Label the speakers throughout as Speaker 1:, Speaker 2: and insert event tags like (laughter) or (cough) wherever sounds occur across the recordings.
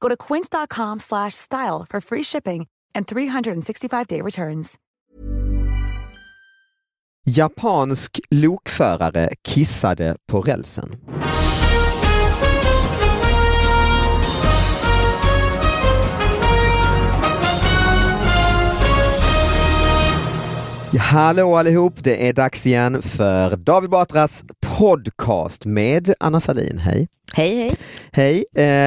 Speaker 1: Go to quince.com slash style for free shipping and 365-day returns.
Speaker 2: Japansk lokförare kissade på rälsen. Ja, Hallå allihop, det är dags igen för David Batras podcast med Anna Salin. Hej!
Speaker 3: Hej hej.
Speaker 2: Hej,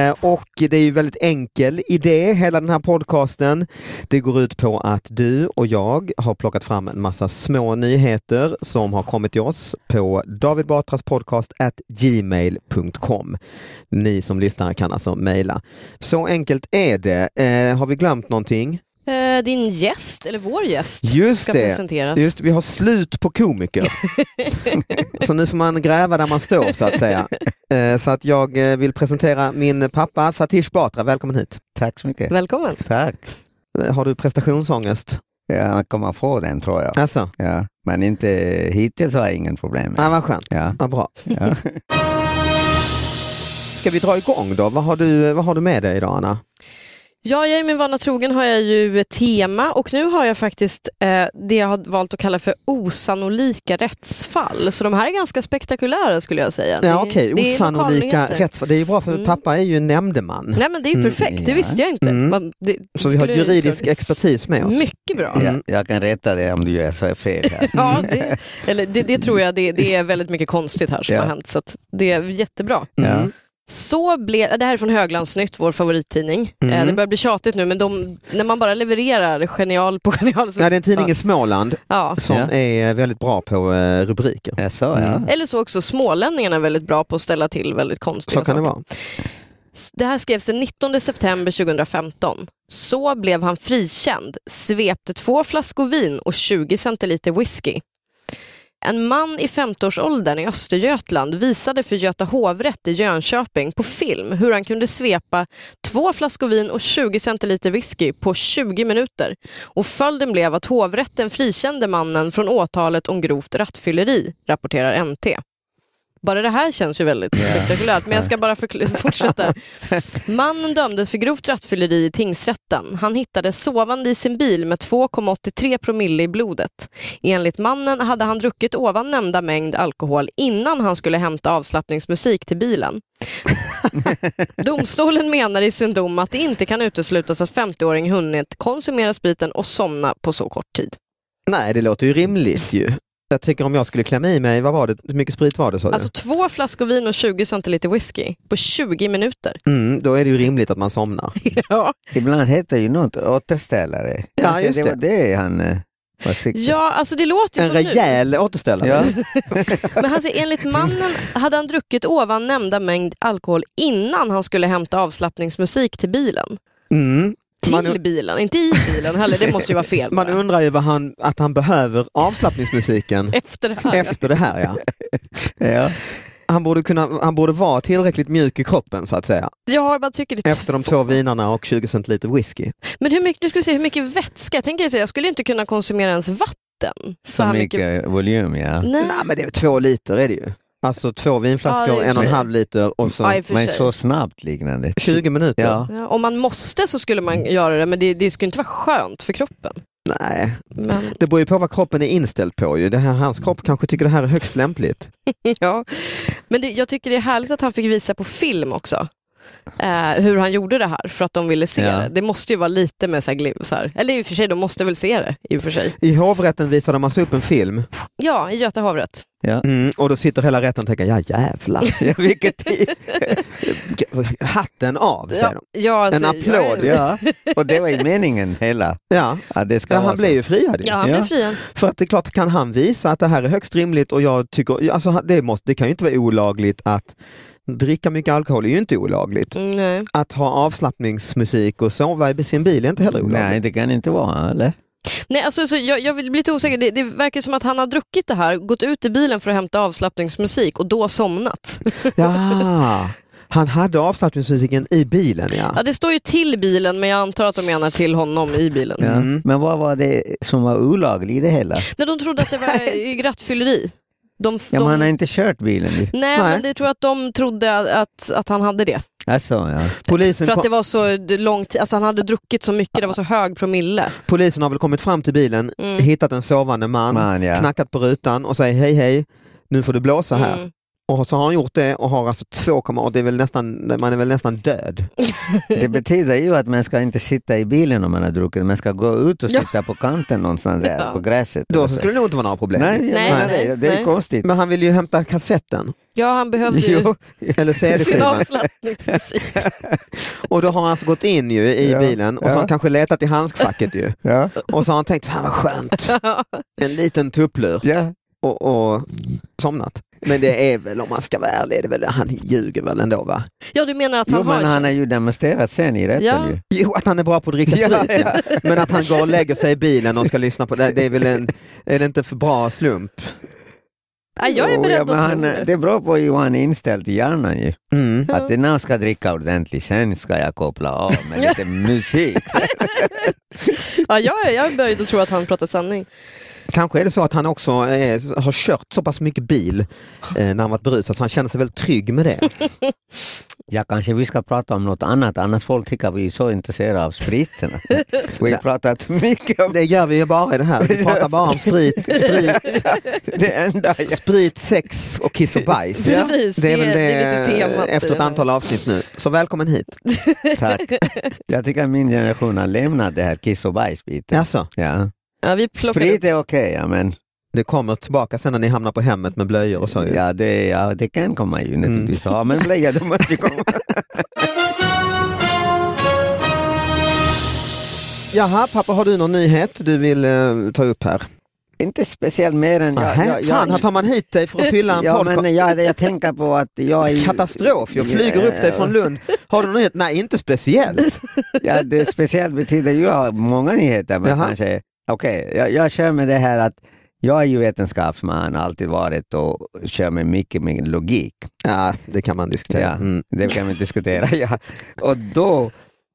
Speaker 2: eh, och det är ju väldigt enkel idé hela den här podcasten. Det går ut på att du och jag har plockat fram en massa små nyheter som har kommit till oss på davidbatraspodcast@gmail.com. Ni som lyssnar kan alltså mejla. Så enkelt är det. Eh, har vi glömt någonting?
Speaker 3: Eh, din gäst, eller vår gäst,
Speaker 2: Just
Speaker 3: ska
Speaker 2: det.
Speaker 3: presenteras.
Speaker 2: Just vi har slut på komiker. så nu får man gräva där man står så att säga. Eh, Så att jag eh, vill presentera min pappa Satish Batra, välkommen hit.
Speaker 4: Tack så mycket.
Speaker 3: Välkommen.
Speaker 4: Tack.
Speaker 2: Eh, Har du prestationsångest?
Speaker 4: Jag kommer få den tror jag.
Speaker 2: Alltså,
Speaker 4: Ja. Men inte, hittills har jag ingen problem.
Speaker 2: ah, vad skönt,
Speaker 4: Ja.
Speaker 2: vad bra.
Speaker 4: Ja.
Speaker 2: (laughs) Ska vi dra igång då? Vad har du, vad har du med dig idag Anna?
Speaker 3: Ja, jag är min vana trogen har jag ju ett tema och nu har jag faktiskt eh, det jag har valt att kalla för osannolika rättsfall. Så de här är ganska spektakulära skulle jag säga.
Speaker 2: Ja,
Speaker 3: Det-
Speaker 2: Okej,
Speaker 3: det är
Speaker 2: osannolika
Speaker 3: lokalnyheter.
Speaker 2: rättsfall. Det är ju bra för
Speaker 3: Mm.
Speaker 2: pappa är ju nämndeman.
Speaker 3: Nej men det är ju
Speaker 2: Mm,
Speaker 3: perfekt, det
Speaker 4: ja.
Speaker 3: visste jag inte.
Speaker 2: Mm.
Speaker 3: Man, det,
Speaker 2: Så vi har
Speaker 3: skulle-
Speaker 2: juridisk expertis med oss.
Speaker 3: Mycket bra.
Speaker 4: Jag, jag kan rätta dig om du gör så fel här.
Speaker 3: Mm. (laughs) Ja, det, eller det, det tror jag, det, det är väldigt mycket konstigt här som
Speaker 4: Ja.
Speaker 3: har hänt så att det är jättebra.
Speaker 4: Ja.
Speaker 2: Mm.
Speaker 3: Så blev, det här är från Höglandsnytt, vår favorittidning.
Speaker 2: Mm.
Speaker 3: Eh, det börjar bli tjatigt nu men de, när man bara levererar genial på genial så...
Speaker 2: Nej, det är en tidning i Småland
Speaker 3: Ja.
Speaker 2: som
Speaker 4: Ja.
Speaker 2: är väldigt bra på eh, rubriker. Mm,
Speaker 4: Jaså, ja.
Speaker 3: Eller så också smålänningarna är väldigt bra på att ställa till väldigt konstiga
Speaker 2: Så kan det vara.
Speaker 3: S- Det här skrevs den 19 september 2015. Så blev han frikänd, svepte två flaskor vin och 20 centiliter whisky. En man i 50-årsåldern i Östergötland visade för Göta hovrätt i Jönköping på film hur han kunde svepa två flaskor vin och 20 centiliter whisky på 20 minuter. Och följden blev att hovrätten frikände mannen från åtalet om grovt rattfylleri, rapporterar NT. Bara det här känns ju väldigt spektakulärt, men jag ska bara förkl- fortsätta. Mannen dömdes för grovt rattfylleri i tingsrätten. Han hittades sovande i sin bil med 2,83 promille i blodet. Enligt mannen hade han druckit ovan nämnda mängd alkohol innan han skulle hämta avslappningsmusik till bilen. Domstolen menar i sin dom att det inte kan uteslutas att 50-åring hunnit konsumera spriten och somna på så kort tid.
Speaker 2: Nej, det låter ju rimligt ju. Jag tänker om jag skulle klämma i mig, vad var det, hur mycket sprit var det sa du?
Speaker 3: Alltså två flaskor vin och 20 centiliter whisky på 20 minuter.
Speaker 2: Mm, då är det ju rimligt att man somnar.
Speaker 3: Ja.
Speaker 4: Ibland heter ju något återställare. Kanske
Speaker 2: just
Speaker 4: det. var det han eh, var siktad.
Speaker 3: Ja, alltså det låter ju
Speaker 2: En
Speaker 3: som nu.
Speaker 2: rejäl återställare.
Speaker 4: Ja.
Speaker 3: Men han säger, enligt mannen hade han druckit ovan nämnda mängd alkohol innan han skulle hämta avslappningsmusik till bilen.
Speaker 2: Mm.
Speaker 3: Till
Speaker 2: Man-
Speaker 3: bilen, inte i bilen heller. Det måste ju vara fel.
Speaker 2: Man
Speaker 3: bara.
Speaker 2: undrar ju vad han,
Speaker 3: (laughs)
Speaker 2: att han behöver avslappningsmusiken
Speaker 3: Efter det här.
Speaker 2: efter det här. Ja.
Speaker 4: Ja.
Speaker 2: han, borde kunna, han borde vara tillräckligt mjuk i kroppen så att säga.
Speaker 3: Jag bara tycker det är
Speaker 2: Efter de
Speaker 3: två-
Speaker 2: två vinerna och 20 centiliter whisky.
Speaker 3: Men hur mycket, nu ska vi se hur mycket vätska, jag tänker så, jag skulle inte kunna konsumera ens vatten. Så,
Speaker 4: Så
Speaker 3: här
Speaker 4: mycket, volym ja.
Speaker 3: Nej.
Speaker 2: Nej men det är två liter är det ju. Alltså två vinflaskor,
Speaker 3: Ja, det är
Speaker 2: en och en
Speaker 3: för-
Speaker 2: halv liter och
Speaker 3: Ja, i
Speaker 2: så
Speaker 3: och för
Speaker 4: Men
Speaker 3: sig.
Speaker 4: så snabbt liknande.
Speaker 2: 20 minuter.
Speaker 4: Ja.
Speaker 3: Ja, om man måste så skulle
Speaker 2: Mm.
Speaker 3: man göra det, men det, det skulle inte vara skönt för kroppen.
Speaker 2: Nej,
Speaker 3: Men
Speaker 2: det beror ju på vad kroppen är inställd på ju. Det här, hans kropp kanske tycker det här är högst lämpligt.
Speaker 3: (laughs) Ja, men det, jag tycker det är härligt att han fick visa på film också. Eh, hur han gjorde det här för att de ville se
Speaker 4: Ja.
Speaker 3: det. Det måste ju vara lite med så här, glim- så här. Eller i och för sig, de måste väl se det. I och för sig.
Speaker 2: I hovrätten visar de alltså upp en film
Speaker 3: Ja, i Göta hovrätt.
Speaker 4: Ja.
Speaker 2: mm, och då sitter hela rätten och tänker, ja jävlar. (laughs)
Speaker 4: Ja, vilket tid.
Speaker 2: Hatten av säger de.
Speaker 3: Ja, alltså,
Speaker 2: En applåd.
Speaker 3: Ja,
Speaker 4: Ja, och det var ju meningen hela.
Speaker 2: Ja.
Speaker 4: Ja, det ska
Speaker 2: Ja,
Speaker 4: vara
Speaker 2: han
Speaker 4: så.
Speaker 2: blev ju friad. ju.
Speaker 3: ja, han
Speaker 4: Ja.
Speaker 3: blev friad.
Speaker 2: För att det är klart, kan han visa att det här är högst rimligt och jag tycker, alltså han- det, måste, det kan ju inte vara olagligt att dricka mycket alkohol är ju inte olagligt.
Speaker 3: Mm, nej.
Speaker 2: Att ha avslappningsmusik och sova i sin bil är inte heller olagligt.
Speaker 4: Nej, det kan inte vara, eller?
Speaker 3: Nej, alltså, så jag, jag blir lite osäker. Det, det verkar som att han har druckit det här, gått ut i bilen för att hämta avslappningsmusik och då somnat.
Speaker 2: Ja, han hade avslappningsmusiken i bilen
Speaker 3: Ja,
Speaker 2: ja.
Speaker 3: det står ju till bilen, men jag antar att de menar till honom i bilen.
Speaker 4: Ja. Men vad var det som var olagligt i det hela?
Speaker 3: Nej, de trodde att det
Speaker 4: (laughs)
Speaker 3: var rattfylleri. De, de...
Speaker 4: Ja, men han har inte kört bilen. dit.
Speaker 3: Nej,
Speaker 2: Nej.
Speaker 3: men det tror jag att de trodde att, att, att han hade det.
Speaker 4: Alltså, ja.
Speaker 2: Polisen,
Speaker 3: För att
Speaker 2: kom,
Speaker 3: det var så lång tid, alltså han hade druckit så mycket, det var så hög promille.
Speaker 2: polisen har väl kommit fram till bilen,
Speaker 3: Mm.
Speaker 2: hittat en sovande man,
Speaker 4: Man, ja.
Speaker 2: knackat på rutan och säger hej hej, nu får du blåsa här.
Speaker 3: Mm.
Speaker 2: Och så har han gjort det och har alltså 2,8, det är väl nästan, man är väl nästan död.
Speaker 4: Det betyder ju att man ska inte sitta i bilen om man har druckit, man ska gå ut och sitta på kanten någonstans där,
Speaker 3: Ja.
Speaker 4: på gräset.
Speaker 2: Då
Speaker 4: Alltså.
Speaker 2: skulle det nog inte vara några problem.
Speaker 4: Nej, jag
Speaker 3: Nej,
Speaker 4: menar
Speaker 3: nej,
Speaker 4: det. det är
Speaker 3: nej.
Speaker 4: konstigt.
Speaker 2: Men han ville ju hämta kassetten,
Speaker 3: (laughs) Ja, han behövde ju
Speaker 4: Jo.
Speaker 2: eller
Speaker 3: (laughs) sin
Speaker 2: CD-skivan.
Speaker 3: avslappningsmusik.
Speaker 2: Och då har han alltså gått in ju i
Speaker 4: Ja,
Speaker 2: bilen och så har han
Speaker 4: ja.
Speaker 2: kanske letat i handskfacket
Speaker 3: (laughs)
Speaker 2: ju.
Speaker 4: Ja.
Speaker 2: Och så har han tänkt, fan vad skönt, en liten tupplur
Speaker 4: Ja.
Speaker 2: och, och somnat. Men det är väl, om man ska vara ärlig, är det väl, han ljuger väl ändå va?
Speaker 3: Ja, du menar att han
Speaker 4: Jo,
Speaker 3: har...
Speaker 4: men han har ju demonstrerat sen i rätten.
Speaker 3: Ja.
Speaker 4: Ju.
Speaker 2: Jo, att han är bra på att dricka sprit,
Speaker 4: Ja,
Speaker 2: ja. men att han går och lägger sig i bilen och ska lyssna på det, det är väl en, är det inte för bra slump?
Speaker 3: Nej, jag är
Speaker 4: Jo,
Speaker 3: beredd
Speaker 4: ja,
Speaker 3: att
Speaker 4: men han,
Speaker 3: tro det.
Speaker 4: Det beror på hur han är inställd i hjärnan ju.
Speaker 2: Mm.
Speaker 4: Att när jag ska dricka ordentligt, sen ska jag koppla av med lite musik.
Speaker 3: Ja, jag, är, jag är böjd att tro att han pratar sanning.
Speaker 2: Kanske är det så att han också eh, har kört så pass mycket bil eh, när han varit berusad så han känner sig väldigt trygg med det.
Speaker 4: Ja, kanske vi ska prata om något annat, annars folk tycker vi är så intresserade
Speaker 3: (laughs)
Speaker 4: av spriten. Vi har pratat mycket om
Speaker 2: Det gör vi ju bara i det här, vi pratar bara om sprit, sprit,
Speaker 4: det enda jag...
Speaker 2: sprit sex och kiss och bajs.
Speaker 3: Ja. Precis,
Speaker 2: det är väl det,
Speaker 3: det- det är lite temat i
Speaker 2: efter ett
Speaker 3: den här.
Speaker 2: antal avsnitt nu. Så välkommen hit.
Speaker 4: Tack.
Speaker 2: (laughs)
Speaker 4: Jag tycker att min generation har lämnat det här kiss och bajsbiten.
Speaker 2: Alltså,
Speaker 4: Ja.
Speaker 3: Ja, vi plockade...
Speaker 4: Sprit är okej, ja, men
Speaker 2: det kommer tillbaka sen när ni hamnar på hemmet med blöjor och så. ju.
Speaker 4: ja, det, ja, det kan komma ju
Speaker 2: Mm.
Speaker 4: naturligtvis. Ja, men blöja, det måste
Speaker 2: (laughs)
Speaker 4: ju komma.
Speaker 2: Jaha, pappa har du någon nyhet du vill eh, ta upp här?
Speaker 4: Inte speciellt mer än...
Speaker 2: Nähä, fan, här tar man hit dig
Speaker 4: (laughs)
Speaker 2: för att fylla en
Speaker 4: ja,
Speaker 2: podcast.
Speaker 4: men jag, jag tänker på att jag... är-
Speaker 2: Katastrof, jag flyger upp dig från Lund. Har du någon nyhet? Nej, inte
Speaker 4: (laughs)
Speaker 2: speciellt.
Speaker 4: Ja, det speciellt betyder ju jag har många nyheter. Men
Speaker 2: Jaha.
Speaker 4: kanske, okay, jag, jag kör med det här att jag är ju vetenskapsman, alltid varit och kör med mycket med logik.
Speaker 2: Ja, det kan man diskutera.
Speaker 4: Ja,
Speaker 2: Mm.
Speaker 4: Det kan vi diskutera. (laughs) Ja. Och då,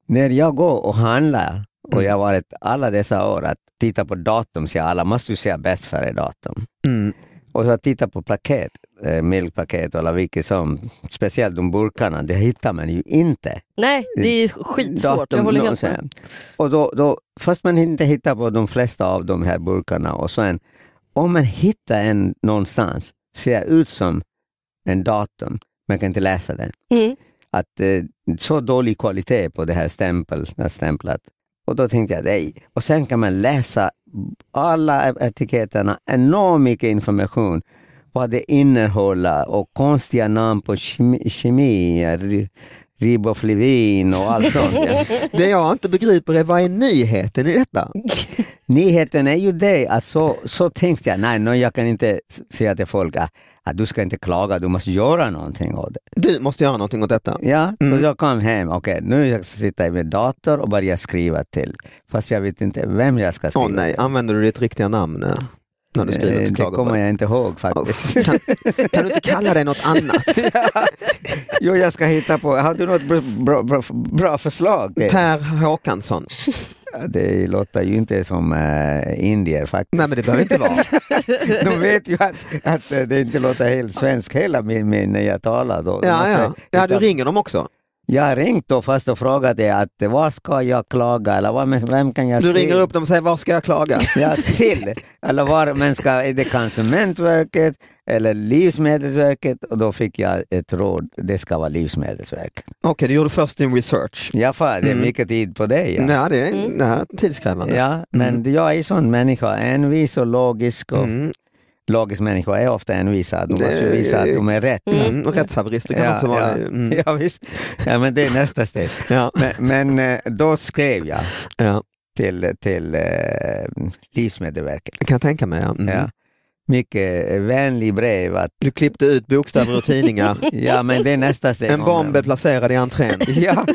Speaker 4: när jag går och handlar, och jag
Speaker 3: Mm.
Speaker 4: har varit alla dessa år att titta på datum, säger alla, måste du säga bäst före datum?
Speaker 2: Mm.
Speaker 4: Och jag tittar på paket, eh, mjölkpaket eller vilket som, speciellt de burkarna, det hittar man ju inte
Speaker 3: Nej, det är skitsvårt. Jag
Speaker 4: datum
Speaker 3: håller
Speaker 4: någon
Speaker 3: helt
Speaker 4: så
Speaker 3: med.
Speaker 4: här. Och då, då, först man inte hittar på de flesta av de här burkarna och sen om man hittar en någonstans, ser ut som en datum, man kan inte läsa den.
Speaker 3: Mm.
Speaker 4: Att eh, så dålig kvalitet på det här stämpel, det här stämplat. Och då tänkte jag, nej. Och sen kan man läsa alla etiketterna, enormt mycket information. Vad det innehåller och konstiga namn på kemi, kemi ri- riboflavin och allt sånt. ja.
Speaker 2: Det jag inte begriper är vad är nyheten i detta?
Speaker 4: Nyheten är ju det att så, så tänkte jag, nej, nej jag kan inte s- säga till folk att, att du ska inte klaga, du måste göra någonting åt det.
Speaker 2: Du måste göra någonting åt detta.
Speaker 4: Ja,
Speaker 2: Mm.
Speaker 4: så jag kom hem, okej nu jag ska sitta i min dator och börja skriva till. Fast jag vet inte vem jag ska skriva
Speaker 2: Åh nej, använder du ditt riktiga namn? eh? när du skriver
Speaker 4: Eh,
Speaker 2: till
Speaker 4: Det kommer
Speaker 2: klagomål?
Speaker 4: jag inte ihåg faktiskt.
Speaker 2: Kan, kan du inte kalla det något
Speaker 4: (laughs)
Speaker 2: annat?
Speaker 4: jo, jag ska hitta på. Har du något br- bra, bra, bra förslag? Det,
Speaker 2: Per Håkansson.
Speaker 4: det låter ju inte som eh, indier faktiskt.
Speaker 2: Nej men det behöver inte (laughs) vara.
Speaker 4: (laughs) De vet ju att, att eh, det inte låter helt svensk heller med, med när jag talar. Då. Då
Speaker 2: Ja,
Speaker 4: måste
Speaker 2: ja.
Speaker 4: jag
Speaker 2: ja du
Speaker 4: hitta-
Speaker 2: ringer dem också.
Speaker 4: Jag har ringt då först och frågat er att var ska jag klaga eller vad, men vem kan jag
Speaker 2: Du
Speaker 4: skriva-
Speaker 2: ringer upp dem och säger var ska jag
Speaker 4: (laughs)
Speaker 2: klaga?
Speaker 4: Ja, till. Eller var men ska, är det Konsumentverket eller Livsmedelsverket? Och då fick jag ett råd, det ska vara Livsmedelsverket.
Speaker 2: Okej, du gjorde först din research.
Speaker 4: Ja, fan, det är
Speaker 2: Mm.
Speaker 4: mycket tid på dig. Ja.
Speaker 2: Ja, det är ja, tidskrävande.
Speaker 4: Ja, men jag är en sån människa, envis och logisk. Och
Speaker 2: Mm.
Speaker 4: Logisk människa är ofta envisa, de
Speaker 2: Det-
Speaker 4: måste ju visa att de är rätt.
Speaker 2: Mm. Och rättshaverister kan
Speaker 4: Ja,
Speaker 2: också vara
Speaker 4: ja.
Speaker 2: det. Mm.
Speaker 4: ja, visst. Ja, men det är nästa steg.
Speaker 2: Ja.
Speaker 4: Men, men eh, då skrev jag
Speaker 2: Ja.
Speaker 4: till, till eh, Livsmedelsverket.
Speaker 2: Kan jag tänka mig. Ja. Mm.
Speaker 4: Ja. Mycket eh, vänlig
Speaker 3: (laughs)
Speaker 4: brev att
Speaker 2: Du klippte ut bokstäver ur tidningar.
Speaker 4: (laughs) Ja, men det är nästa steg.
Speaker 2: En bomb är placerad i entrén.
Speaker 4: (laughs) Ja,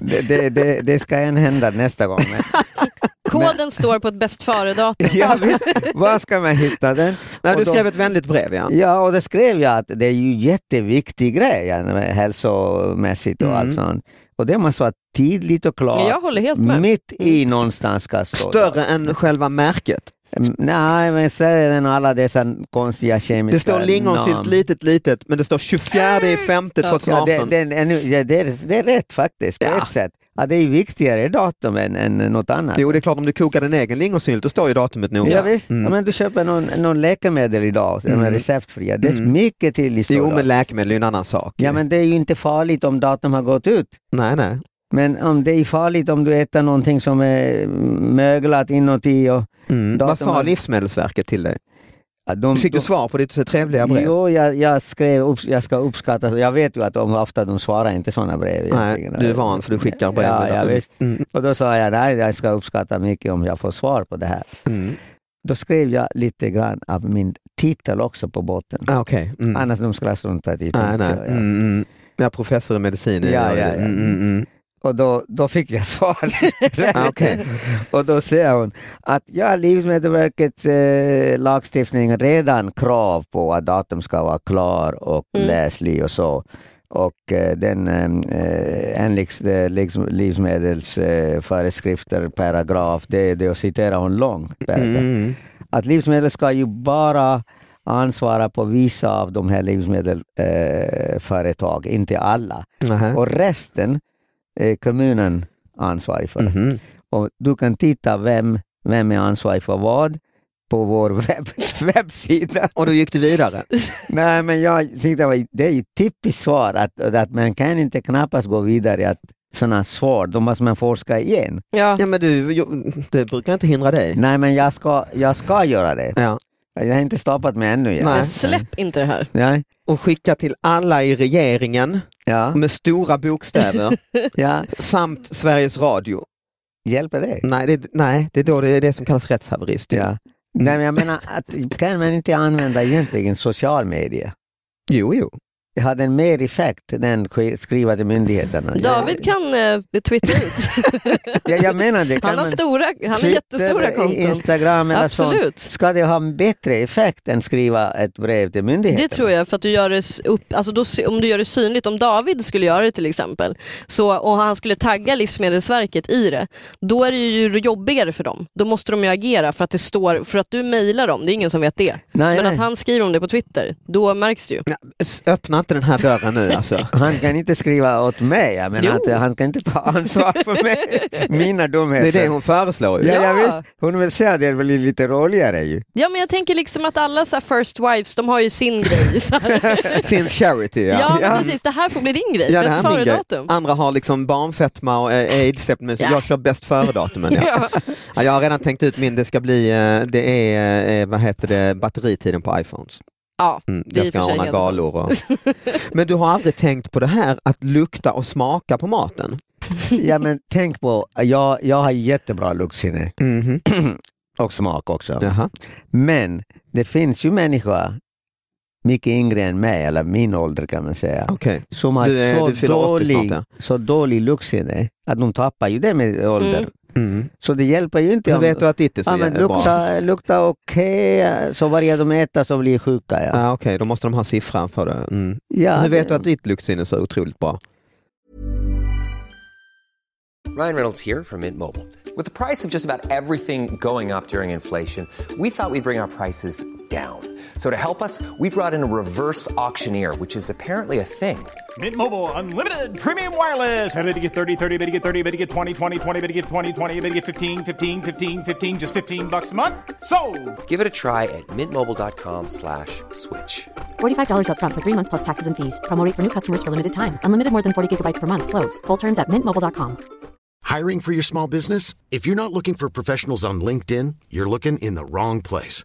Speaker 4: det, det, det, det ska än hända nästa gång.
Speaker 2: (laughs)
Speaker 4: Men,
Speaker 3: Koden står på ett bäst före-datum.
Speaker 4: (laughs) ja, visst. Var ska man hitta den?
Speaker 2: Nej,
Speaker 4: Och
Speaker 2: du
Speaker 4: då-
Speaker 2: skrev ett vänligt brev ja.
Speaker 4: Ja, och då skrev jag att det är ju jätteviktig grej ja, med hälsomässigt och
Speaker 2: Mm.
Speaker 4: allt sånt. Och det måste vara tydligt och klart.
Speaker 3: Men jag håller helt med. Mm.
Speaker 4: Mitt i någonstans ska stå.
Speaker 2: Större än själva märket.
Speaker 4: Mm, Nej, men säger den alla dessa konstiga kemiska
Speaker 2: Det står lingonsylt
Speaker 4: namn.
Speaker 2: litet litet men det står 24 i femte
Speaker 4: Ja,
Speaker 2: 2018.
Speaker 4: det, det, är nu- ja, det, är, det är rätt faktiskt på
Speaker 2: Ja.
Speaker 4: ett sätt. Ja, det är ju viktigare datum än, än något annat.
Speaker 2: Jo det är klart om du kokar din egen lingonsylt då står ju datumet noga.
Speaker 4: Ja, visst.
Speaker 2: Mm.
Speaker 4: Ja, men du köper någon, någon läkemedel idag, de är
Speaker 2: Mm.
Speaker 4: receptfria. Det är
Speaker 2: Mm.
Speaker 4: mycket till i
Speaker 2: Jo
Speaker 4: stora.
Speaker 2: men läkemedel är ju en annan sak.
Speaker 4: Ja, men det är ju inte farligt om datum har gått ut.
Speaker 2: Nej nej.
Speaker 4: Men om det är farligt om du äter någonting som är möglat inuti. Och,
Speaker 2: Mm.
Speaker 4: Datum
Speaker 2: Vad sa
Speaker 4: har-
Speaker 2: Livsmedelsverket till dig?
Speaker 4: ja, de,
Speaker 2: Fick du svar på ditt så trevliga brev?
Speaker 4: Jo, jag, jag skrev upp, jag ska uppskatta, jag vet ju att de ofta de svarar inte sådana brev.
Speaker 2: Nej,
Speaker 4: egentligen.
Speaker 2: du är van för du skickar brev.
Speaker 4: Ja, ja,
Speaker 2: Mm.
Speaker 4: visst.
Speaker 2: Mm.
Speaker 4: Och då sa jag, nej, jag ska uppskatta mycket om jag får svar på det här.
Speaker 2: Mm.
Speaker 4: Då skrev jag lite grann av min titel också på botten.
Speaker 2: Ah, Okej. Mm.
Speaker 4: Annars de skulle ha struntat i
Speaker 2: Nej,
Speaker 4: titeln.
Speaker 2: nej.
Speaker 4: så jag-
Speaker 2: Mm, mm. Ja, professor i medicin. är
Speaker 4: Ja,
Speaker 2: jag
Speaker 4: ja,
Speaker 2: det.
Speaker 4: ja.
Speaker 2: Mm, mm, mm.
Speaker 4: Och då, då fick jag (laughs) svar.
Speaker 2: Ah,
Speaker 4: (laughs)
Speaker 2: okej.
Speaker 4: och då säger hon att ja, Livsmedelsverkets eh, lagstiftning redan krav på att datum ska vara klar och
Speaker 3: Mm.
Speaker 4: läslig och så. Och eh, den eh, enligt eh, liksom, livsmedelsföreskrifter eh, föreskrifter, paragraf, det, det citerar hon långt.
Speaker 2: Mm,
Speaker 4: paragraf.
Speaker 2: mm.
Speaker 4: Att livsmedel ska ju bara ansvara på vissa av de här livsmedelsföretag, eh, företag, inte alla.
Speaker 2: Nähä.
Speaker 4: Och resten är kommunen ansvarig för.
Speaker 2: Mhm.
Speaker 4: Och du kan titta vem, vem är ansvarig för vad på vår (laughs) webb, webbsida.
Speaker 2: Och då gick du
Speaker 4: (laughs)
Speaker 2: vidare.
Speaker 4: Nej, men jag tyckte det var- det är ju ett typiskt svar att, att man kan inte knappast gå vidare i att sådana svar, då måste man forska igen.
Speaker 3: Ja.
Speaker 2: Ja, men du, jo, det brukar inte hindra dig.
Speaker 4: Nej, men jag ska, jag ska göra det.
Speaker 2: Ja.
Speaker 4: Jag har inte stoppat mig ännu. Jag.
Speaker 2: Nej.
Speaker 3: Men släpp inte det här.
Speaker 4: Nej.
Speaker 2: Och skicka till alla i regeringen
Speaker 4: Ja.
Speaker 2: med stora
Speaker 3: (laughs)
Speaker 2: bokstäver
Speaker 4: ja,
Speaker 2: samt Sveriges Radio.
Speaker 4: hjälper det?
Speaker 2: Nej, det, nej, det är då det är det som kallas rättshaverist. ju.
Speaker 4: Ja.
Speaker 2: Mm.
Speaker 4: Nej, men jag menar, att, kan man inte använda egentligen social media?
Speaker 2: Jo, jo.
Speaker 4: hade en mer effekt än sk- skriva till myndigheterna.
Speaker 3: David kan eh, twittra
Speaker 4: (laughs)
Speaker 3: ut.
Speaker 4: Jag, jag menar det.
Speaker 3: (laughs)
Speaker 4: Kan
Speaker 3: Han har,
Speaker 4: man
Speaker 3: stora, han har
Speaker 4: Twitter,
Speaker 3: jättestora konton.
Speaker 4: Instagram eller sånt.
Speaker 3: Absolut.
Speaker 4: Ska det ha en bättre effekt än skriva ett brev till myndigheterna?
Speaker 3: Det tror jag, för att du gör det s- upp, alltså då, sy- om du gör det synligt, om David skulle göra det till exempel så, och han skulle tagga Livsmedelsverket i det, då är det ju jobbigare för dem. Då måste de ju agera för att det står, för att du mejlar dem, det är ingen som vet det.
Speaker 4: Nej,
Speaker 3: Men
Speaker 4: nej.
Speaker 3: att han skriver om det på Twitter, då märks det ju.
Speaker 2: S- Öppna inte den här dörren nu
Speaker 3: (laughs)
Speaker 2: alltså.
Speaker 4: Han kan inte skriva åt mig, jag menar
Speaker 3: Jo.
Speaker 4: att han kan inte ta ansvar för mig.
Speaker 3: (laughs)
Speaker 4: mina
Speaker 2: Det
Speaker 4: dumheter.
Speaker 2: är det hon föreslår. Ju.
Speaker 4: Ja, ja.
Speaker 3: Ja.
Speaker 4: visst. Hon vill säga att det blir lite roligare ju.
Speaker 3: Ja men jag tänker liksom att alla så här first wives, de har ju sin grej. (laughs) Så
Speaker 2: (laughs)
Speaker 3: här.
Speaker 2: Sin charity. Ja,
Speaker 3: Ja, men precis, det här får bli din grej.
Speaker 2: Ja, det
Speaker 3: Bäst
Speaker 2: här är min grej.
Speaker 3: före-datum.
Speaker 2: Andra har liksom barnfetma och eh, aids, men
Speaker 3: Ja.
Speaker 2: jag kör bäst före-datumen. Ja.
Speaker 3: (laughs)
Speaker 2: Ja. jag har redan tänkt ut min, det ska bli, eh, det är, eh, vad heter det, batteritiden på iPhones.
Speaker 3: Ja,
Speaker 2: Mm,
Speaker 3: det är
Speaker 2: jag
Speaker 3: i och
Speaker 2: ska
Speaker 3: för sig
Speaker 2: ordna
Speaker 3: helt sant.
Speaker 2: galor. Och...
Speaker 4: (laughs)
Speaker 2: Men du har aldrig tänkt på det här att lukta och smaka på maten?
Speaker 4: Ja, men tänk på, jag, jag har jättebra luktsinne
Speaker 2: Mhm.
Speaker 4: (clears throat) och smak också.
Speaker 2: Jaha.
Speaker 4: Men det finns ju människor, mycket yngre än mig, eller min ålder kan man säga,
Speaker 2: Okej.
Speaker 4: som har
Speaker 2: Du är-
Speaker 4: så,
Speaker 2: du fyller 80
Speaker 4: dålig,
Speaker 2: snart,
Speaker 4: så dålig luktsinne att de tappar ju det med ålder.
Speaker 3: Mm.
Speaker 2: Mm.
Speaker 4: Så det hjälper ju inte.
Speaker 2: Hur
Speaker 4: om-
Speaker 2: vet du att ditt är så
Speaker 4: ja, men
Speaker 2: jävla bra?
Speaker 4: lukta, lukta okej, så varje de äter så blir sjuka. Ja.
Speaker 2: Ah, Okej, då måste de ha siffran för det. Mm.
Speaker 4: Ja,
Speaker 2: Hur vet
Speaker 4: det-
Speaker 2: du att ditt luktsinne är så otroligt bra?
Speaker 5: Ryan Reynolds here from Mint Mobile. With the price of just about everything going up during inflation, we thought we'd bring our prices down. So to help us, we brought in a reverse auctioneer, which is apparently a thing.
Speaker 6: Mint Mobile unlimited premium wireless. Ready to get 30, 30, bit to get 30, bit to get 20, 20, 20, bit to get 20, 20, bit to get 15, 15, 15, 15 just 15 bucks a month. Sold.
Speaker 5: Give it a try at mintmobile.com slash switch.
Speaker 7: $45 upfront for three months plus taxes and fees. Promo rate for new customers for limited time. Unlimited more than 40 gigabytes per month. Slows. Full terms at mintmobile.com.
Speaker 8: Hiring for your small business? If you're not looking for professionals on LinkedIn, you're looking in the wrong place.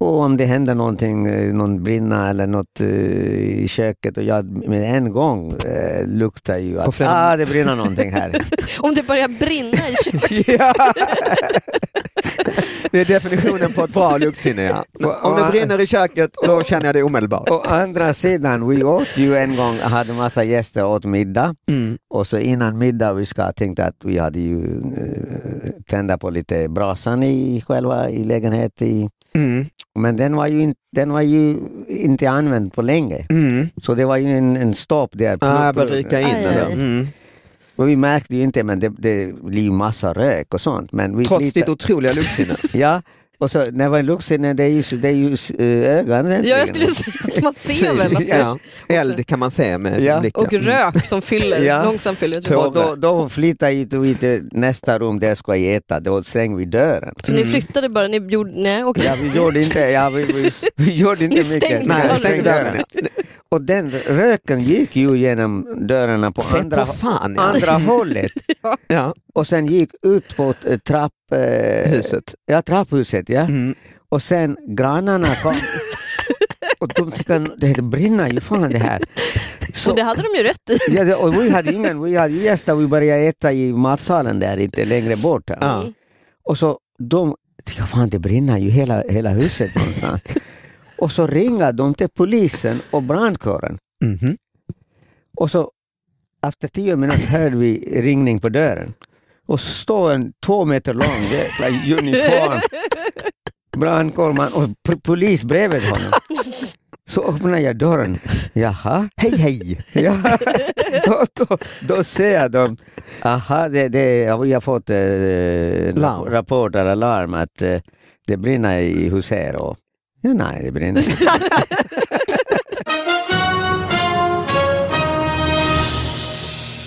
Speaker 4: Och om det händer någonting, eh, någon brinna eller något eh, i köket och jag med en gång eh, luktar ju
Speaker 2: På
Speaker 4: att
Speaker 2: fredag.
Speaker 4: ah, det brinner
Speaker 2: (laughs)
Speaker 4: någonting här.
Speaker 3: Om det börjar brinna i köket.
Speaker 2: Ja. Det är definitionen på ett bra
Speaker 4: (laughs)
Speaker 2: luktsinne. Ja. Om det brinner i köket, då känner jag det omedelbart.
Speaker 4: Å andra sidan, vi åt ju en gång, hade massa gäster åt middag
Speaker 2: Mm.
Speaker 4: och så innan middag vi ska tänkte att vi hade ju eh, tända på lite brasan i själva i lägenheten. I,
Speaker 2: Mm.
Speaker 4: men den var, ju in, den var ju inte använd på länge.
Speaker 2: Mm.
Speaker 4: Så det var ju en, en stopp där.
Speaker 2: Ah, jag börjar ryka in.
Speaker 3: Aj,
Speaker 2: eller?
Speaker 3: aj.
Speaker 2: Mm.
Speaker 4: Och vi märkte ju inte, men det, det blir ju massa rök och sånt. Men vi
Speaker 2: Trots
Speaker 4: lite-
Speaker 2: ditt otroliga
Speaker 4: (laughs)
Speaker 2: luktsinne.
Speaker 4: Ja, och så när man luktsinne, det är ju, det är ju eh, ögonen.
Speaker 3: Ja, jag skulle säga att man ser väl. Att det,
Speaker 2: (laughs) Ja. Eld kan man se med
Speaker 4: Ja.
Speaker 2: sin blick.
Speaker 3: och
Speaker 2: Mm.
Speaker 3: rök som fyller,
Speaker 4: Ja.
Speaker 3: långsamt fyller.
Speaker 2: Så-
Speaker 4: Och då, då flyttade ju vi till nästa rum där ska jag äta, då stängde vi dörren.
Speaker 3: Så
Speaker 2: Mm.
Speaker 3: ni flyttade bara, ni gjorde, nej okej.
Speaker 4: Ja, vi gjorde inte, ja, vi, vi, vi gjorde inte
Speaker 3: Ni
Speaker 4: mycket.
Speaker 3: stängde
Speaker 2: Nej,
Speaker 3: dörren.
Speaker 2: stäng dörren.
Speaker 4: Och den röken gick ju genom dörrarna på
Speaker 2: Se
Speaker 4: andra,
Speaker 2: på fan. Ja.
Speaker 4: andra hållet
Speaker 2: Ja.
Speaker 4: och sen gick ut på eh, trapp, eh,
Speaker 2: Huset.
Speaker 4: Ja, trapphuset. Ja.
Speaker 2: Mm.
Speaker 4: Och sen grannarna
Speaker 3: (laughs)
Speaker 4: kom och de tyckte det brinner ju fan det här. Så-
Speaker 3: Och det hade de ju rätt i.
Speaker 4: Ja, det, och vi hade ingen, vi hade gäster, vi började äta i matsalen där, inte längre bort.
Speaker 2: Ja.
Speaker 4: Och så de tyckte, fan det brinner ju hela, hela huset
Speaker 2: (laughs)
Speaker 4: någonstans. och så ringer de till polisen och brandkåren.
Speaker 2: Mhm.
Speaker 4: Och så efter tio minuter hörde vi ringning på dörren. Och så står en två meter lång jävla
Speaker 2: (laughs)
Speaker 4: uniform brandkårman och p- polis bredvid honom. Så öppnar jag dörren. Jaha.
Speaker 2: Hej hej!
Speaker 4: Ja. (laughs) Då, då, då ser de, aha, det, det, ja, vi har fått eh,
Speaker 2: Larm.
Speaker 4: rapport eller larm att eh, det brinner i Husero. Ja, nej, det brinner inte.
Speaker 2: (laughs)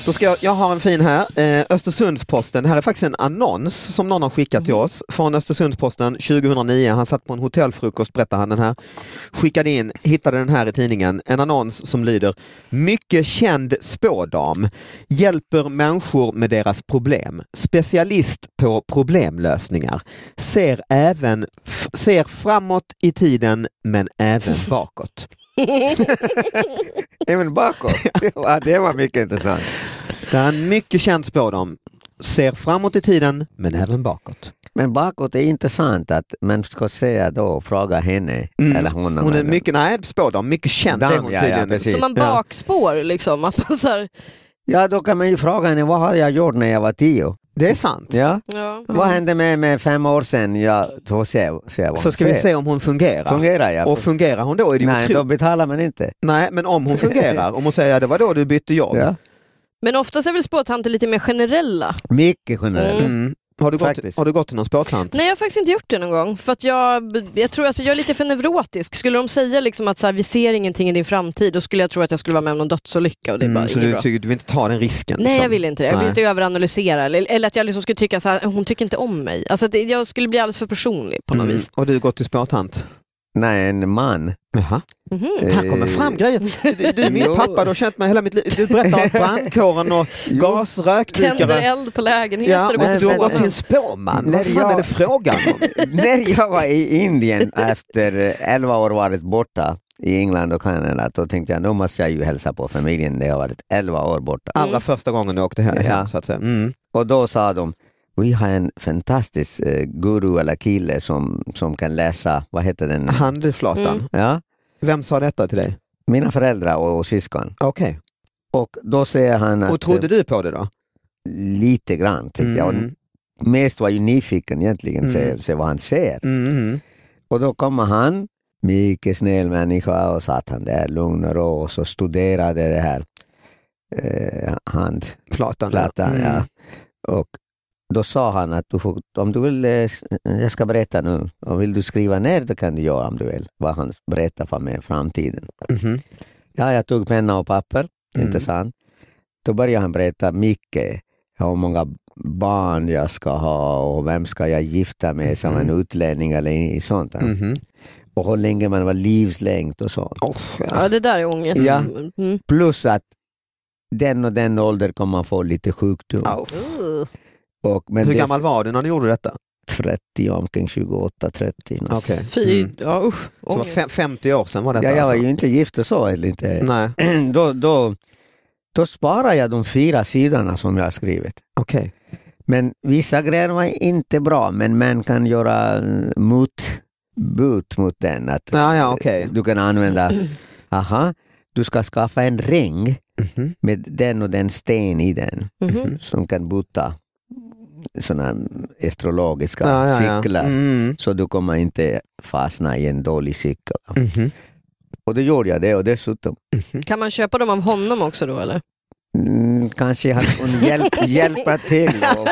Speaker 2: Då ska jag, jag har en fin här, eh, Östersundsposten. Det här är faktiskt en annons som någon har skickat till oss från Östersundsposten 2009. Han satt på en hotellfrukost, berättar han den här. Skickade in, hittade den här i tidningen. En annons som lyder Mycket känd spådam. Hjälper människor med deras problem. Specialist på problemlösningar. Ser, även, f- ser framåt i tiden men även bakåt.
Speaker 4: Även bakåt. Ja, det var mycket intressant.
Speaker 2: Det är en mycket känd spådam. Ser framåt i tiden men även bakåt.
Speaker 4: Men bakåt är intressant att man ska säga då, fråga henne eller honom.
Speaker 2: Mm. Hon är
Speaker 4: eller-
Speaker 2: mycket, nej spådam, mycket känd
Speaker 4: Dam,
Speaker 2: är hon
Speaker 4: ja, ja,
Speaker 2: tydligen.
Speaker 4: precis.
Speaker 3: Så man
Speaker 2: Ja.
Speaker 3: bakspår liksom. Att man så här,
Speaker 4: Ja, då kan man ju fråga henne, vad har jag gjort när jag var tio?
Speaker 2: Det är sant.
Speaker 4: Ja.
Speaker 3: ja.
Speaker 4: Vad hände med mig fem år sedan? Ja, då ser, ser vad
Speaker 2: Så
Speaker 4: hon
Speaker 2: ska vi
Speaker 4: säger.
Speaker 2: se om hon fungerar.
Speaker 4: Fungerar jag?
Speaker 2: Och fungerar hon då är det ju
Speaker 4: Nej,
Speaker 2: otro...
Speaker 4: då betalar man inte.
Speaker 2: Nej, men om hon fungerar, om hon säger det var då du bytte jobb.
Speaker 4: Ja.
Speaker 3: Men oftast är väl spåtanter lite mer generella.
Speaker 4: Mycket generellt.
Speaker 2: Mm. Har, du gått,
Speaker 4: Faktiskt.
Speaker 2: har du gått till någon spåtant?
Speaker 3: Nej jag har faktiskt inte gjort det någon gång. För att jag, jag tror alltså, jag är lite för neurotisk. Skulle de säga liksom att så här, vi ser ingenting i din framtid, då skulle jag tro att jag skulle vara med om någon dödsolycka och det är bara
Speaker 2: Mm, så
Speaker 3: inget
Speaker 2: du,
Speaker 3: bra.
Speaker 2: tycker du vill inte ta den risken?
Speaker 3: Nej
Speaker 2: liksom?
Speaker 3: jag vill inte det. Jag vill
Speaker 2: Nej.
Speaker 3: inte överanalysera. Eller, eller att jag liksom skulle tycka så här, hon tycker inte om mig. Alltså, det, jag skulle bli alldeles för personlig på något
Speaker 2: Mm.
Speaker 3: vis.
Speaker 2: Och du har gått till spåtant?
Speaker 4: Nej, en man.
Speaker 2: Jaha. Här kommer
Speaker 4: Eh,
Speaker 2: fram grejer. Du, du är min
Speaker 4: Jo.
Speaker 2: pappa, du har känt mig hela mitt liv. Du berättar om brandkåren och
Speaker 3: Tänder
Speaker 2: gasrökdykare.
Speaker 3: eld på lägenheter
Speaker 2: Ja,
Speaker 3: och
Speaker 2: och
Speaker 3: går
Speaker 4: men-
Speaker 2: du har
Speaker 3: till
Speaker 2: gått till
Speaker 3: spårvagn.
Speaker 2: en spåman.
Speaker 4: När
Speaker 2: Vad fan
Speaker 4: jag-
Speaker 2: är det frågan om?
Speaker 4: Eh, När jag var i
Speaker 2: (laughs)
Speaker 4: Indien efter eh, 11 år varit borta i England och Kanada, då tänkte jag nu måste jag ju hälsa på familjen när jag varit 11 år borta.
Speaker 2: Allra första gången du åkte hem,
Speaker 4: Ja.
Speaker 2: så att säga. Mm.
Speaker 4: Och då sa de, vi har en fantastisk eh, guru eller kille som, som kan läsa, vad heter den?
Speaker 2: Handflatan.
Speaker 4: Ja,
Speaker 2: Vem sa detta till dig?
Speaker 4: mina föräldrar och, och syskon.
Speaker 2: Okej.
Speaker 4: Och då säger han att... eh,
Speaker 2: Och trodde du på det då?
Speaker 4: Lite grann tyckte jag.
Speaker 2: Mm.
Speaker 4: Och Mest var ju nyfiken egentligen,
Speaker 2: Mm.
Speaker 4: se, se vad han ser.
Speaker 2: Mm,
Speaker 4: Mm-hmm.
Speaker 2: mm.
Speaker 4: Och då kommer han, mycket snäll människa, och satt han där lugn och ro och så studerade det här eh,
Speaker 2: Flatan.
Speaker 4: handplattan.
Speaker 2: Mm.
Speaker 4: Ja. Och då sa han att du får, om du vill, eh, s- jag ska berätta nu, om vill du skriva ner det kan du göra om du vill, vad han berättar för mig i framtiden.
Speaker 2: Mhm.
Speaker 4: Mm-hmm. Ja, jag tog penna och papper,
Speaker 2: Mm.
Speaker 4: inte sant? Då började han berätta mycket, hur många barn jag ska ha och vem ska jag gifta mig som en
Speaker 2: Mm.
Speaker 4: utlänning eller i- sånt.
Speaker 2: Mhm.
Speaker 4: Och hur länge man var livslängd och sånt.
Speaker 2: Oh, ja.
Speaker 3: Ja, det där är ångest.
Speaker 4: Ja.
Speaker 3: Mm.
Speaker 4: Plus att den och den ålder kommer man få lite sjukdom.
Speaker 2: Au.
Speaker 4: Och, Mm. men
Speaker 2: Hur
Speaker 4: det-
Speaker 2: gammal var du när ni gjorde detta?
Speaker 4: 30, omkring 28-30.
Speaker 2: Okej.
Speaker 3: Fy,
Speaker 2: Mm.
Speaker 3: ja usch.
Speaker 2: Så det var
Speaker 3: ångest.
Speaker 2: fem, 50 år sedan var detta
Speaker 4: Ja, jag var
Speaker 2: alltså?
Speaker 4: ju inte gift och så. Eller inte.
Speaker 2: Nej,
Speaker 4: (clears throat) Då, då, då sparar jag de fyra sidorna som jag har skrivit.
Speaker 2: okej.
Speaker 4: Men vissa grejer var inte bra, men man kan göra eh, motbud mot den. Att
Speaker 2: Ja, ja, okej.
Speaker 4: Du
Speaker 2: (clears throat)
Speaker 4: kan använda, aha, du ska skaffa en ring
Speaker 2: Mhm.
Speaker 4: med den och den sten i den
Speaker 3: Mhm.
Speaker 4: som kan bota sådana astrologiska
Speaker 2: Ja, ja, ja.
Speaker 4: cyklar.
Speaker 2: Mm.
Speaker 4: Så du kommer inte fastna i en dålig cykel. Mm-hmm.
Speaker 2: Mhm.
Speaker 4: Och då gjorde jag det och dessutom
Speaker 2: mm.
Speaker 3: Kan man köpa dem av honom också då eller?
Speaker 4: mm, kanske han kunde
Speaker 2: (laughs)
Speaker 4: hjälp, hjälpa till och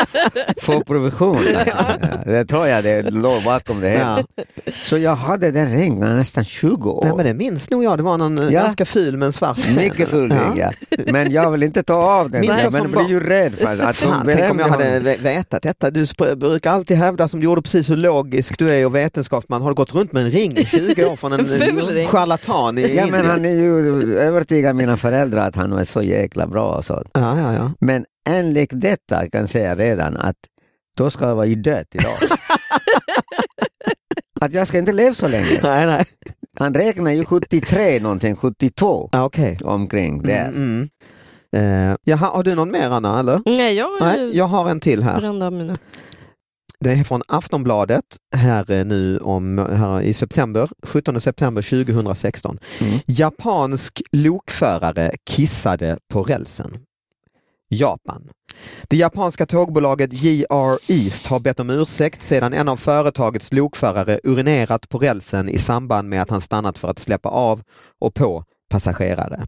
Speaker 4: få provision. Ja, det tror jag det låg bakom det hela. Så jag hade den ringen nästan 20 år.
Speaker 2: Nej, men det minns nog jag. Det var någon eh,
Speaker 4: Ja.
Speaker 2: ganska ful men svart sten.
Speaker 4: Mycket full ring, ja. Men jag vill inte ta av den.
Speaker 2: Minns jag
Speaker 4: Jag men
Speaker 2: som
Speaker 4: jag blir ju
Speaker 2: barn.
Speaker 4: rädd för att
Speaker 2: Fan,
Speaker 4: de
Speaker 2: tänk om jag
Speaker 4: berömde
Speaker 2: hade
Speaker 4: honom.
Speaker 2: ve- vetat detta. Du sp- brukar alltid hävda som du gjorde precis hur logisk du är och vetenskapsman. Har du gått runt med en ring i 20 år från en,
Speaker 3: En ful ring.
Speaker 2: charlatan i
Speaker 4: Ja,
Speaker 2: Indien?
Speaker 4: men han är ju övertygad mina föräldrar att han var så jäkla bra. Och så.
Speaker 2: Ja, ja, ja.
Speaker 4: Men enligt detta kan jag säga redan att då ska jag vara ju död
Speaker 2: (laughs)
Speaker 4: idag. att jag ska inte leva så länge.
Speaker 2: Nej, nej.
Speaker 4: Han räknar ju 73 någonting, 72
Speaker 2: Ja, Okej.
Speaker 4: omkring där.
Speaker 2: Mm, mm. Eh, jaha, har du någon mer Anna? Eller?
Speaker 3: Nej, jag
Speaker 2: Nej,
Speaker 3: är
Speaker 2: jag har en till här.
Speaker 3: bränd av mina.
Speaker 2: Det är från Aftonbladet här eh, nu om, här i september, 17 september 2016.
Speaker 4: Mm.
Speaker 2: Japansk lokförare kissade på rälsen. Japan. Det japanska tågbolaget JR East har bett om ursäkt sedan en av företagets lokförare urinerat på rälsen i samband med att han stannat för att släppa av och på passagerare.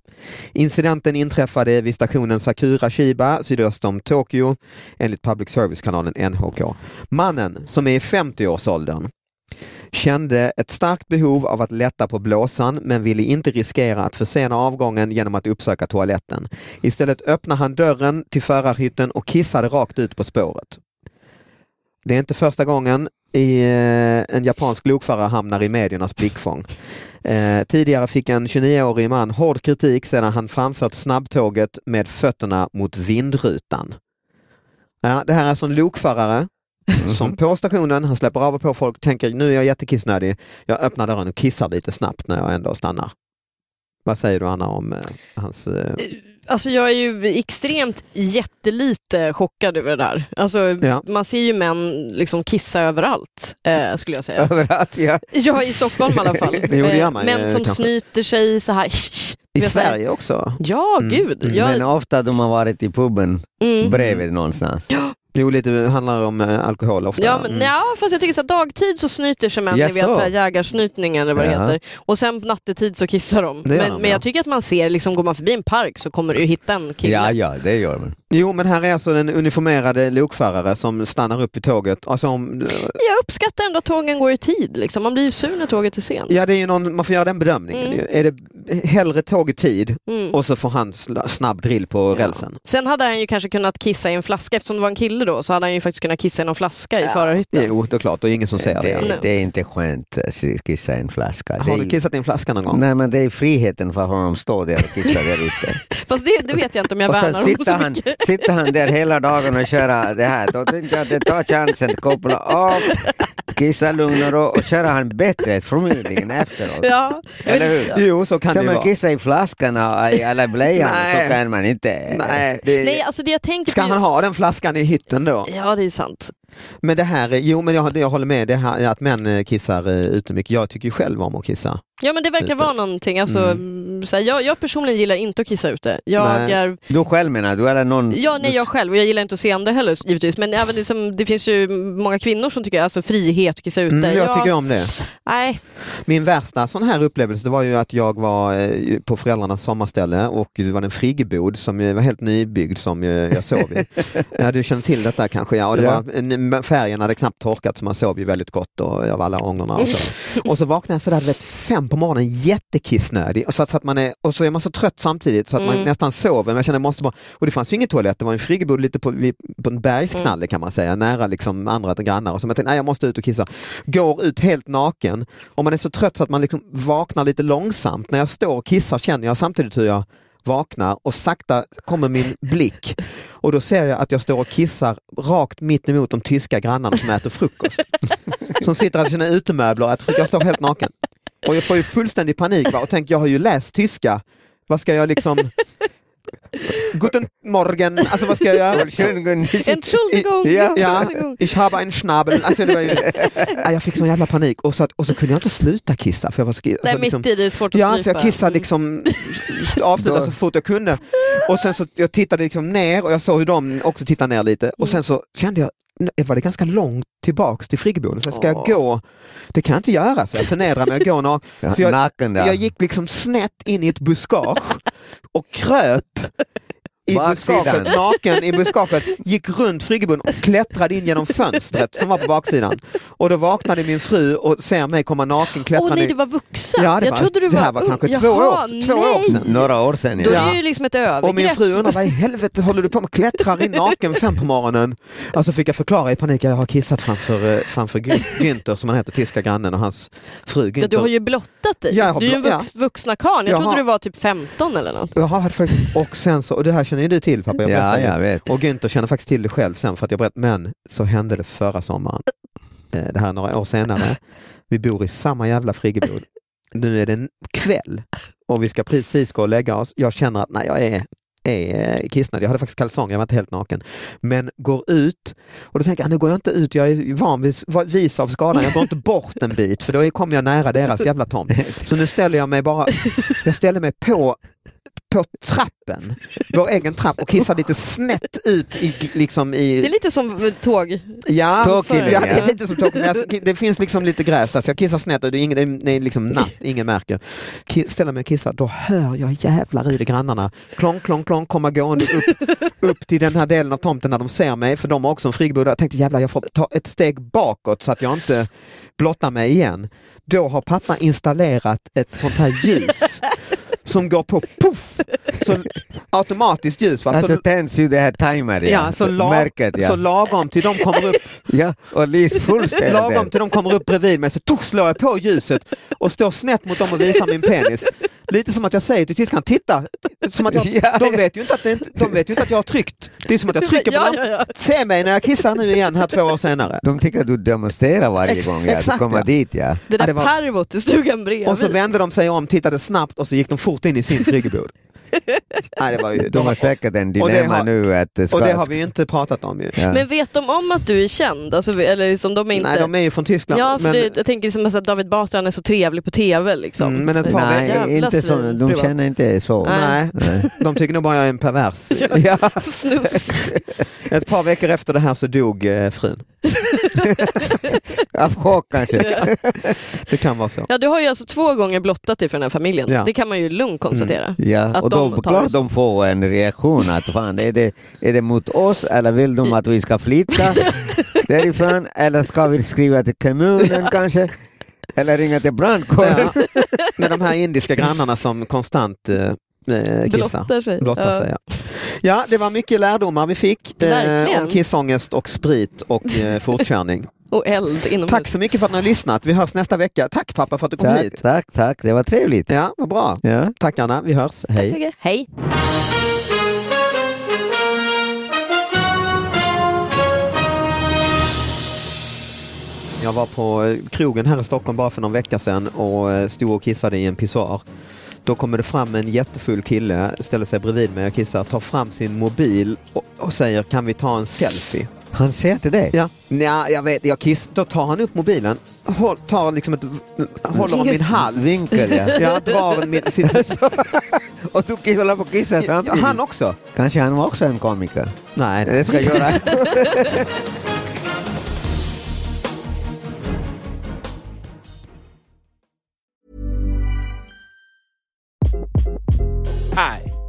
Speaker 2: Incidenten inträffade vid stationen Sakura-Shiba sydöst om Tokyo enligt public service-kanalen NHK. Mannen, som är i 50-årsåldern, kände ett starkt behov av att lätta på blåsan men ville inte riskera att försena avgången genom att uppsöka toaletten. Istället öppnade han dörren till förarhytten och kissade rakt ut på spåret. Det är inte första gången i, eh, en japansk lokförare hamnar i mediernas blickfång. Eh, tidigare fick en 29-årig man hård kritik sedan han framfört snabbtåget med fötterna mot vindrutan. Ja, det här är alltså en lokförare
Speaker 3: Mhm.
Speaker 2: som på stationen, han släpper av och på folk, tänker nu är jag jättekissnödig, jag öppnar dörren och kissar lite snabbt när jag ändå stannar. Vad säger du Anna om eh, hans... Eh,
Speaker 3: Alltså jag är ju extremt jättelite chockad över det där. Alltså,
Speaker 2: Ja.
Speaker 3: Man ser ju män liksom kissa överallt, eh, skulle jag säga.
Speaker 4: (laughs) Överallt ja.
Speaker 3: Ja, i Stockholm i alla fall.
Speaker 2: (laughs) Jo, det gör
Speaker 3: Eh,
Speaker 2: man ju,
Speaker 3: män som
Speaker 2: kanske.
Speaker 3: snyter sig så här.
Speaker 2: I
Speaker 3: vet jag.
Speaker 2: Sverige också?
Speaker 3: Ja,
Speaker 2: Mm.
Speaker 3: gud.
Speaker 2: Mm.
Speaker 3: Jag,
Speaker 4: Men ofta de har varit i puben
Speaker 3: mm.
Speaker 4: bredvid någonstans.
Speaker 2: Jo, lite, det handlar om eh, alkohol ofta.
Speaker 3: Ja, men,
Speaker 2: Mm.
Speaker 3: ja, fast jag tycker så här, dagtid så snyter sig män,
Speaker 4: Ja,
Speaker 3: ni vet
Speaker 4: så.
Speaker 3: så här, jägarsnytning eller vad det
Speaker 4: Ja.
Speaker 3: heter. Och sen nattetid så kissar de.
Speaker 2: Det gör
Speaker 3: men
Speaker 2: de,
Speaker 3: men
Speaker 2: ja.
Speaker 3: jag tycker att man ser, liksom, går man förbi en park så kommer du ju hitta en kille.
Speaker 4: Ja, ja, det gör man.
Speaker 2: Jo, men här är alltså den uniformerade lokförare som stannar upp i tåget. Alltså, om,
Speaker 3: Jag uppskattar ändå att tågen går i tid. Liksom. Man blir ju sur när tåget är sent.
Speaker 2: ja, det är ju någon, man får göra den bedömningen.
Speaker 3: Mm.
Speaker 2: Är det hellre tåg i tid
Speaker 3: Mm.
Speaker 2: och så får han sla- snabb drill på rälsen.
Speaker 3: Sen hade han ju kanske kunnat kissa i en flaska, eftersom det var en kille då, så hade han ju faktiskt kunnat kissa i någon flaska i förarhytten.
Speaker 2: Jo, det är klart, och ingen som ser det.
Speaker 4: Det, det är inte skönt att kissa i en flaska.
Speaker 2: Har
Speaker 4: det
Speaker 2: du
Speaker 4: är,
Speaker 2: kissat i en flaska någon gång?
Speaker 4: Nej, men det är friheten för honom att stå där och kissa
Speaker 2: (laughs)
Speaker 4: där ute.
Speaker 3: Fast det, det vet jag inte om jag
Speaker 4: Och sen
Speaker 3: värnar honom
Speaker 4: sitter
Speaker 3: så
Speaker 4: han,
Speaker 3: mycket.
Speaker 4: sitter han där hela dagen och kör det här. Då tänkte jag att det tar chansen, koppla av, kissa lugn och ro och köra han bättre förmodligen efteråt.
Speaker 3: Ja, jag
Speaker 4: Eller
Speaker 3: vet,
Speaker 4: hur?
Speaker 2: Jo, så kan det
Speaker 4: Kan
Speaker 2: ju
Speaker 4: man
Speaker 2: vara.
Speaker 4: kissa i flaskan och i alla blöjan
Speaker 2: Nej.
Speaker 4: så kan man inte.
Speaker 2: Nej, det...
Speaker 3: nej, alltså det jag tänker
Speaker 2: Ska
Speaker 3: på...
Speaker 2: han ha den flaskan i hytten då?
Speaker 3: Ja, det är sant.
Speaker 2: Men det här, är- jo men jag, jag håller med, det här, att män eh, kissar eh, ute mycket. Jag tycker ju själv om att kissa.
Speaker 3: Ja, men det verkar
Speaker 2: Lite. Mm.
Speaker 3: vara någonting. Alltså, så här, jag, jag personligen gillar inte att kissa ute. Jag
Speaker 2: Nej. Mm.
Speaker 3: är...
Speaker 4: Du själv menar du eller någon?
Speaker 3: Ja, nej,
Speaker 4: (laughs)
Speaker 3: jag själv. Och jag gillar inte att se andra heller givetvis. Men även liksom, det finns ju många kvinnor som tycker alltså frihet att kissa ute.
Speaker 2: Mm, jag tycker om det.
Speaker 3: Nej,
Speaker 2: Min värsta sån här upplevelse det var ju att jag var eh, på föräldrarnas sommarställe och det var en friggebod som eh, var helt nybyggd som eh, jag sov i. ja, du känner till detta kanske? Ja, och det
Speaker 4: Ja.
Speaker 2: Var, en- färgen hade knappt torkat så man sov ju väldigt gott och av alla ångorna.
Speaker 3: (laughs)
Speaker 2: Och så, och så vaknade jag sådär du vet, fem på morgonen jättekissnödig och så, att, så att man är, och så är man så trött samtidigt så att man
Speaker 3: Mm.
Speaker 2: nästan sover men jag kände jag måste bara, och det fanns ju ingen toalett, det var en friggebod lite på, vid- på en bergsknalle kan man säga, nära liksom andra grannar. Och så jag tänkte, nej jag måste ut och kissa. Går ut helt naken och man är så trött så att man liksom vaknar lite långsamt. När jag står och kissar känner jag samtidigt hur jag vaknar och sakta kommer min blick och då ser jag att jag står och kissar rakt mitt emot de tyska grannarna som äter frukost. som sitter över sina utemöbler och äter frukost. Jag står helt naken. Och jag får ju fullständig panik va? och tänker jag har ju läst tyska. Vad ska jag liksom... Guten morgen, alltså vad ska jag göra?
Speaker 3: Entschuldigung,
Speaker 2: Ja, ja,
Speaker 3: Entschuldigung.
Speaker 2: ich habe einen Schnabel. Alltså, det var ju, Nej, jag fick sån jävla panik och så, att, och så kunde jag inte sluta kissa. För jag var så, alltså,
Speaker 3: nej mitt i det är svårt att
Speaker 2: Ja,
Speaker 3: strypa.
Speaker 2: så jag kissade liksom, avslutade så fort jag kunde. Och sen så jag tittade liksom ner och jag såg hur de också tittade ner lite. Och sen så kände jag, nu var det ganska långt tillbaks till friggeboden. Så ska jag gå? Det kan jag inte göra, så jag förnedrar mig att gå naken. Så jag,
Speaker 4: Naken där.
Speaker 2: jag gick liksom snett in i ett buskage och kröp i
Speaker 4: Baksidan.
Speaker 2: buskaget, naken i buskaget, gick runt friggeboden och klättrade in genom fönstret som var på baksidan. Och då vaknade min fru och ser mig komma naken
Speaker 3: Åh
Speaker 2: klättrande
Speaker 3: nej,
Speaker 2: i-
Speaker 3: du var vuxen.
Speaker 2: Ja, det
Speaker 3: jag
Speaker 2: var-
Speaker 3: trodde du
Speaker 2: det här var
Speaker 3: ung.
Speaker 2: kanske två
Speaker 3: Jaha,
Speaker 2: år- två år
Speaker 3: nej.
Speaker 2: sedan.
Speaker 4: Några år
Speaker 3: Då
Speaker 4: sedan. Ja.
Speaker 3: är det
Speaker 2: Ja.
Speaker 3: ju liksom ett övergrepp.
Speaker 2: Och min fru undrar vad i helvete håller du på med? Klättrar in naken fem på morgonen? Alltså fick jag förklara i panik att jag har kissat framför, eh, framför Gü- Günther som han heter, tyska grannen och hans fru Günther.
Speaker 3: Ja, du har ju blottat dig.
Speaker 2: Ja, jag har
Speaker 3: du är ju en
Speaker 2: blott-
Speaker 3: vux, vuxna karl. Jag
Speaker 2: Jaha.
Speaker 3: trodde du var typ 15 eller något.
Speaker 2: Jaha, hade faktiskt- och sen så, och det här känner ju du till pappa, jag
Speaker 4: ja,
Speaker 2: berättar ju.
Speaker 4: jag vet.
Speaker 2: Och Günther känner faktiskt till det själv sen för att jag berättade, men så hände det förra sommaren. Eh, Det här är några år senare. Vi bor i samma jävla friggebod. Nu är det en kväll och vi ska precis gå och lägga oss. Jag känner att nej, jag är, är eh, kissnödig. Jag hade faktiskt kalsonger, jag var inte helt naken. Men går ut och då tänker jag, "Ah, nu går jag inte ut, jag är van vid, vis av skadan. Jag går inte bort en bit för då är- kommer jag nära deras jävla tomt. Så nu ställer jag mig bara, jag ställer mig på på trappen, vår egen trapp och kissar lite snett ut i, liksom
Speaker 3: Det är
Speaker 2: i...
Speaker 3: lite som eh, tåg.
Speaker 2: Ja,
Speaker 4: Tågkille,
Speaker 2: ja, det
Speaker 4: ja.
Speaker 2: är lite som tåg, men jag- det finns liksom lite gräs där så jag kissar snett och det är, ingen, det är liksom natt, ingen märker. Ki- Ställer mig och kissar, då hör jag jävlar i det grannarna klong, klong, klong komma gående upp, upp till den här delen av tomten när de ser mig, för de har också en friggebod. Jag tänkte jävlar jag får ta ett steg bakåt så att jag inte blottar mig igen. Då har pappa installerat ett sånt här ljus som går på poff! Så automatiskt ljus. Va? Så-
Speaker 4: Alltså tänds ju det här timer,
Speaker 2: Ja, så, la-
Speaker 4: märket. Ja.
Speaker 2: så lagom till de kommer upp
Speaker 4: ja, och Lis Puls är
Speaker 2: lagom
Speaker 4: där.
Speaker 2: till de kommer upp bredvid mig så tuff slår jag på ljuset och står snett mot dem och visar min penis. Lite som att jag säger till tyskarna, titta! Som att jag,
Speaker 4: Ja.
Speaker 2: de, vet ju inte att det, inte- de vet ju inte att jag har tryckt. Det är som att jag trycker på
Speaker 3: Ja,
Speaker 2: dem.
Speaker 3: ja, ja.
Speaker 2: Se mig när jag kissar nu igen här två år senare.
Speaker 4: De tycker att du demonstrerar varje
Speaker 2: Ex-
Speaker 4: gång ja, du
Speaker 2: exakt,
Speaker 4: kommer
Speaker 2: ja.
Speaker 4: dit. Ja.
Speaker 3: Det där
Speaker 2: det var-
Speaker 3: pervot i stugan bredvid.
Speaker 2: Och så vände de sig om, tittade snabbt och så gick de fort in i sin friggebod. Nej, det var ju...
Speaker 4: De har säkert en
Speaker 2: och det
Speaker 4: dilemma
Speaker 2: har-
Speaker 4: nu. Att det ska,
Speaker 2: och det har vi ju inte pratat om ju.
Speaker 4: Ja.
Speaker 3: Men vet de om att du är känd? Alltså, vi- eller liksom, de är inte...
Speaker 2: Nej, de är ju från Tyskland.
Speaker 3: Ja, för
Speaker 2: men,
Speaker 3: det, jag tänker liksom att David Batra han är så trevlig på TV. Liksom.
Speaker 2: Mm, men ett par
Speaker 3: Jävla
Speaker 2: veckor-
Speaker 4: Nej, inte så,
Speaker 3: svin,
Speaker 4: de
Speaker 3: privat.
Speaker 4: känner inte så.
Speaker 2: nej, de tycker nog bara jag är en pervers.
Speaker 4: Ja.
Speaker 3: (laughs) Snusk.
Speaker 2: Ett par veckor efter det här så dog eh, frun.
Speaker 4: Av chock kanske.
Speaker 2: Det kan vara så.
Speaker 3: Ja, du har ju alltså två gånger blottat dig för den här familjen.
Speaker 2: Ja. Mm.
Speaker 3: Det kan man ju lugnt konstatera.
Speaker 4: Ja,
Speaker 3: Att
Speaker 4: och
Speaker 3: de
Speaker 4: då
Speaker 3: tar
Speaker 4: klart
Speaker 3: oss.
Speaker 4: de får en reaktion. att fan, är, det, är det mot oss eller vill de
Speaker 2: (laughs)
Speaker 4: att vi ska flytta därifrån? Eller ska vi skriva till kommunen kanske?
Speaker 9: Eller ringa till brandkåren.
Speaker 2: Ja. Med de här indiska grannarna som konstant eh, eh, kissar.
Speaker 3: Blottar sig.
Speaker 2: Blottar sig, ja. ja, det var mycket lärdomar vi fick eh,
Speaker 3: Verkligen.
Speaker 2: om kissångest och sprit och eh,
Speaker 3: (laughs)
Speaker 2: fortkörning.
Speaker 3: Och eld inomhus.
Speaker 2: Tack så mycket för att ni har lyssnat. Vi hörs nästa vecka. Tack pappa för att du kom
Speaker 9: Tack,
Speaker 2: hit.
Speaker 9: tack, tack. Det var trevligt.
Speaker 2: Ja, vad bra.
Speaker 9: Ja.
Speaker 2: Tack Anna, vi hörs. Hej.
Speaker 3: mycket. Hej.
Speaker 2: Jag var på eh, krogen här i Stockholm bara för någon vecka sedan och eh, stod och kissade i en pissoar. Då kommer det fram en jättefull kille, ställer sig bredvid mig och kissar, tar fram sin mobil och, och säger kan vi ta en selfie?
Speaker 9: Han säger till dig?
Speaker 2: Ja, Nja, jag vet, jag kiss, då tar han upp mobilen, håll, tar liksom ett, håller om min hals.
Speaker 9: Vinkel, ja.
Speaker 2: Ja, drar min,
Speaker 9: (laughs)
Speaker 2: sitt,
Speaker 9: Och du håller på att kissa
Speaker 2: ja,
Speaker 9: samtidigt.
Speaker 2: han också.
Speaker 9: Kanske han var också en komiker.
Speaker 2: Nej,
Speaker 9: Det ska jag
Speaker 2: (laughs)
Speaker 9: göra.
Speaker 5: Hi,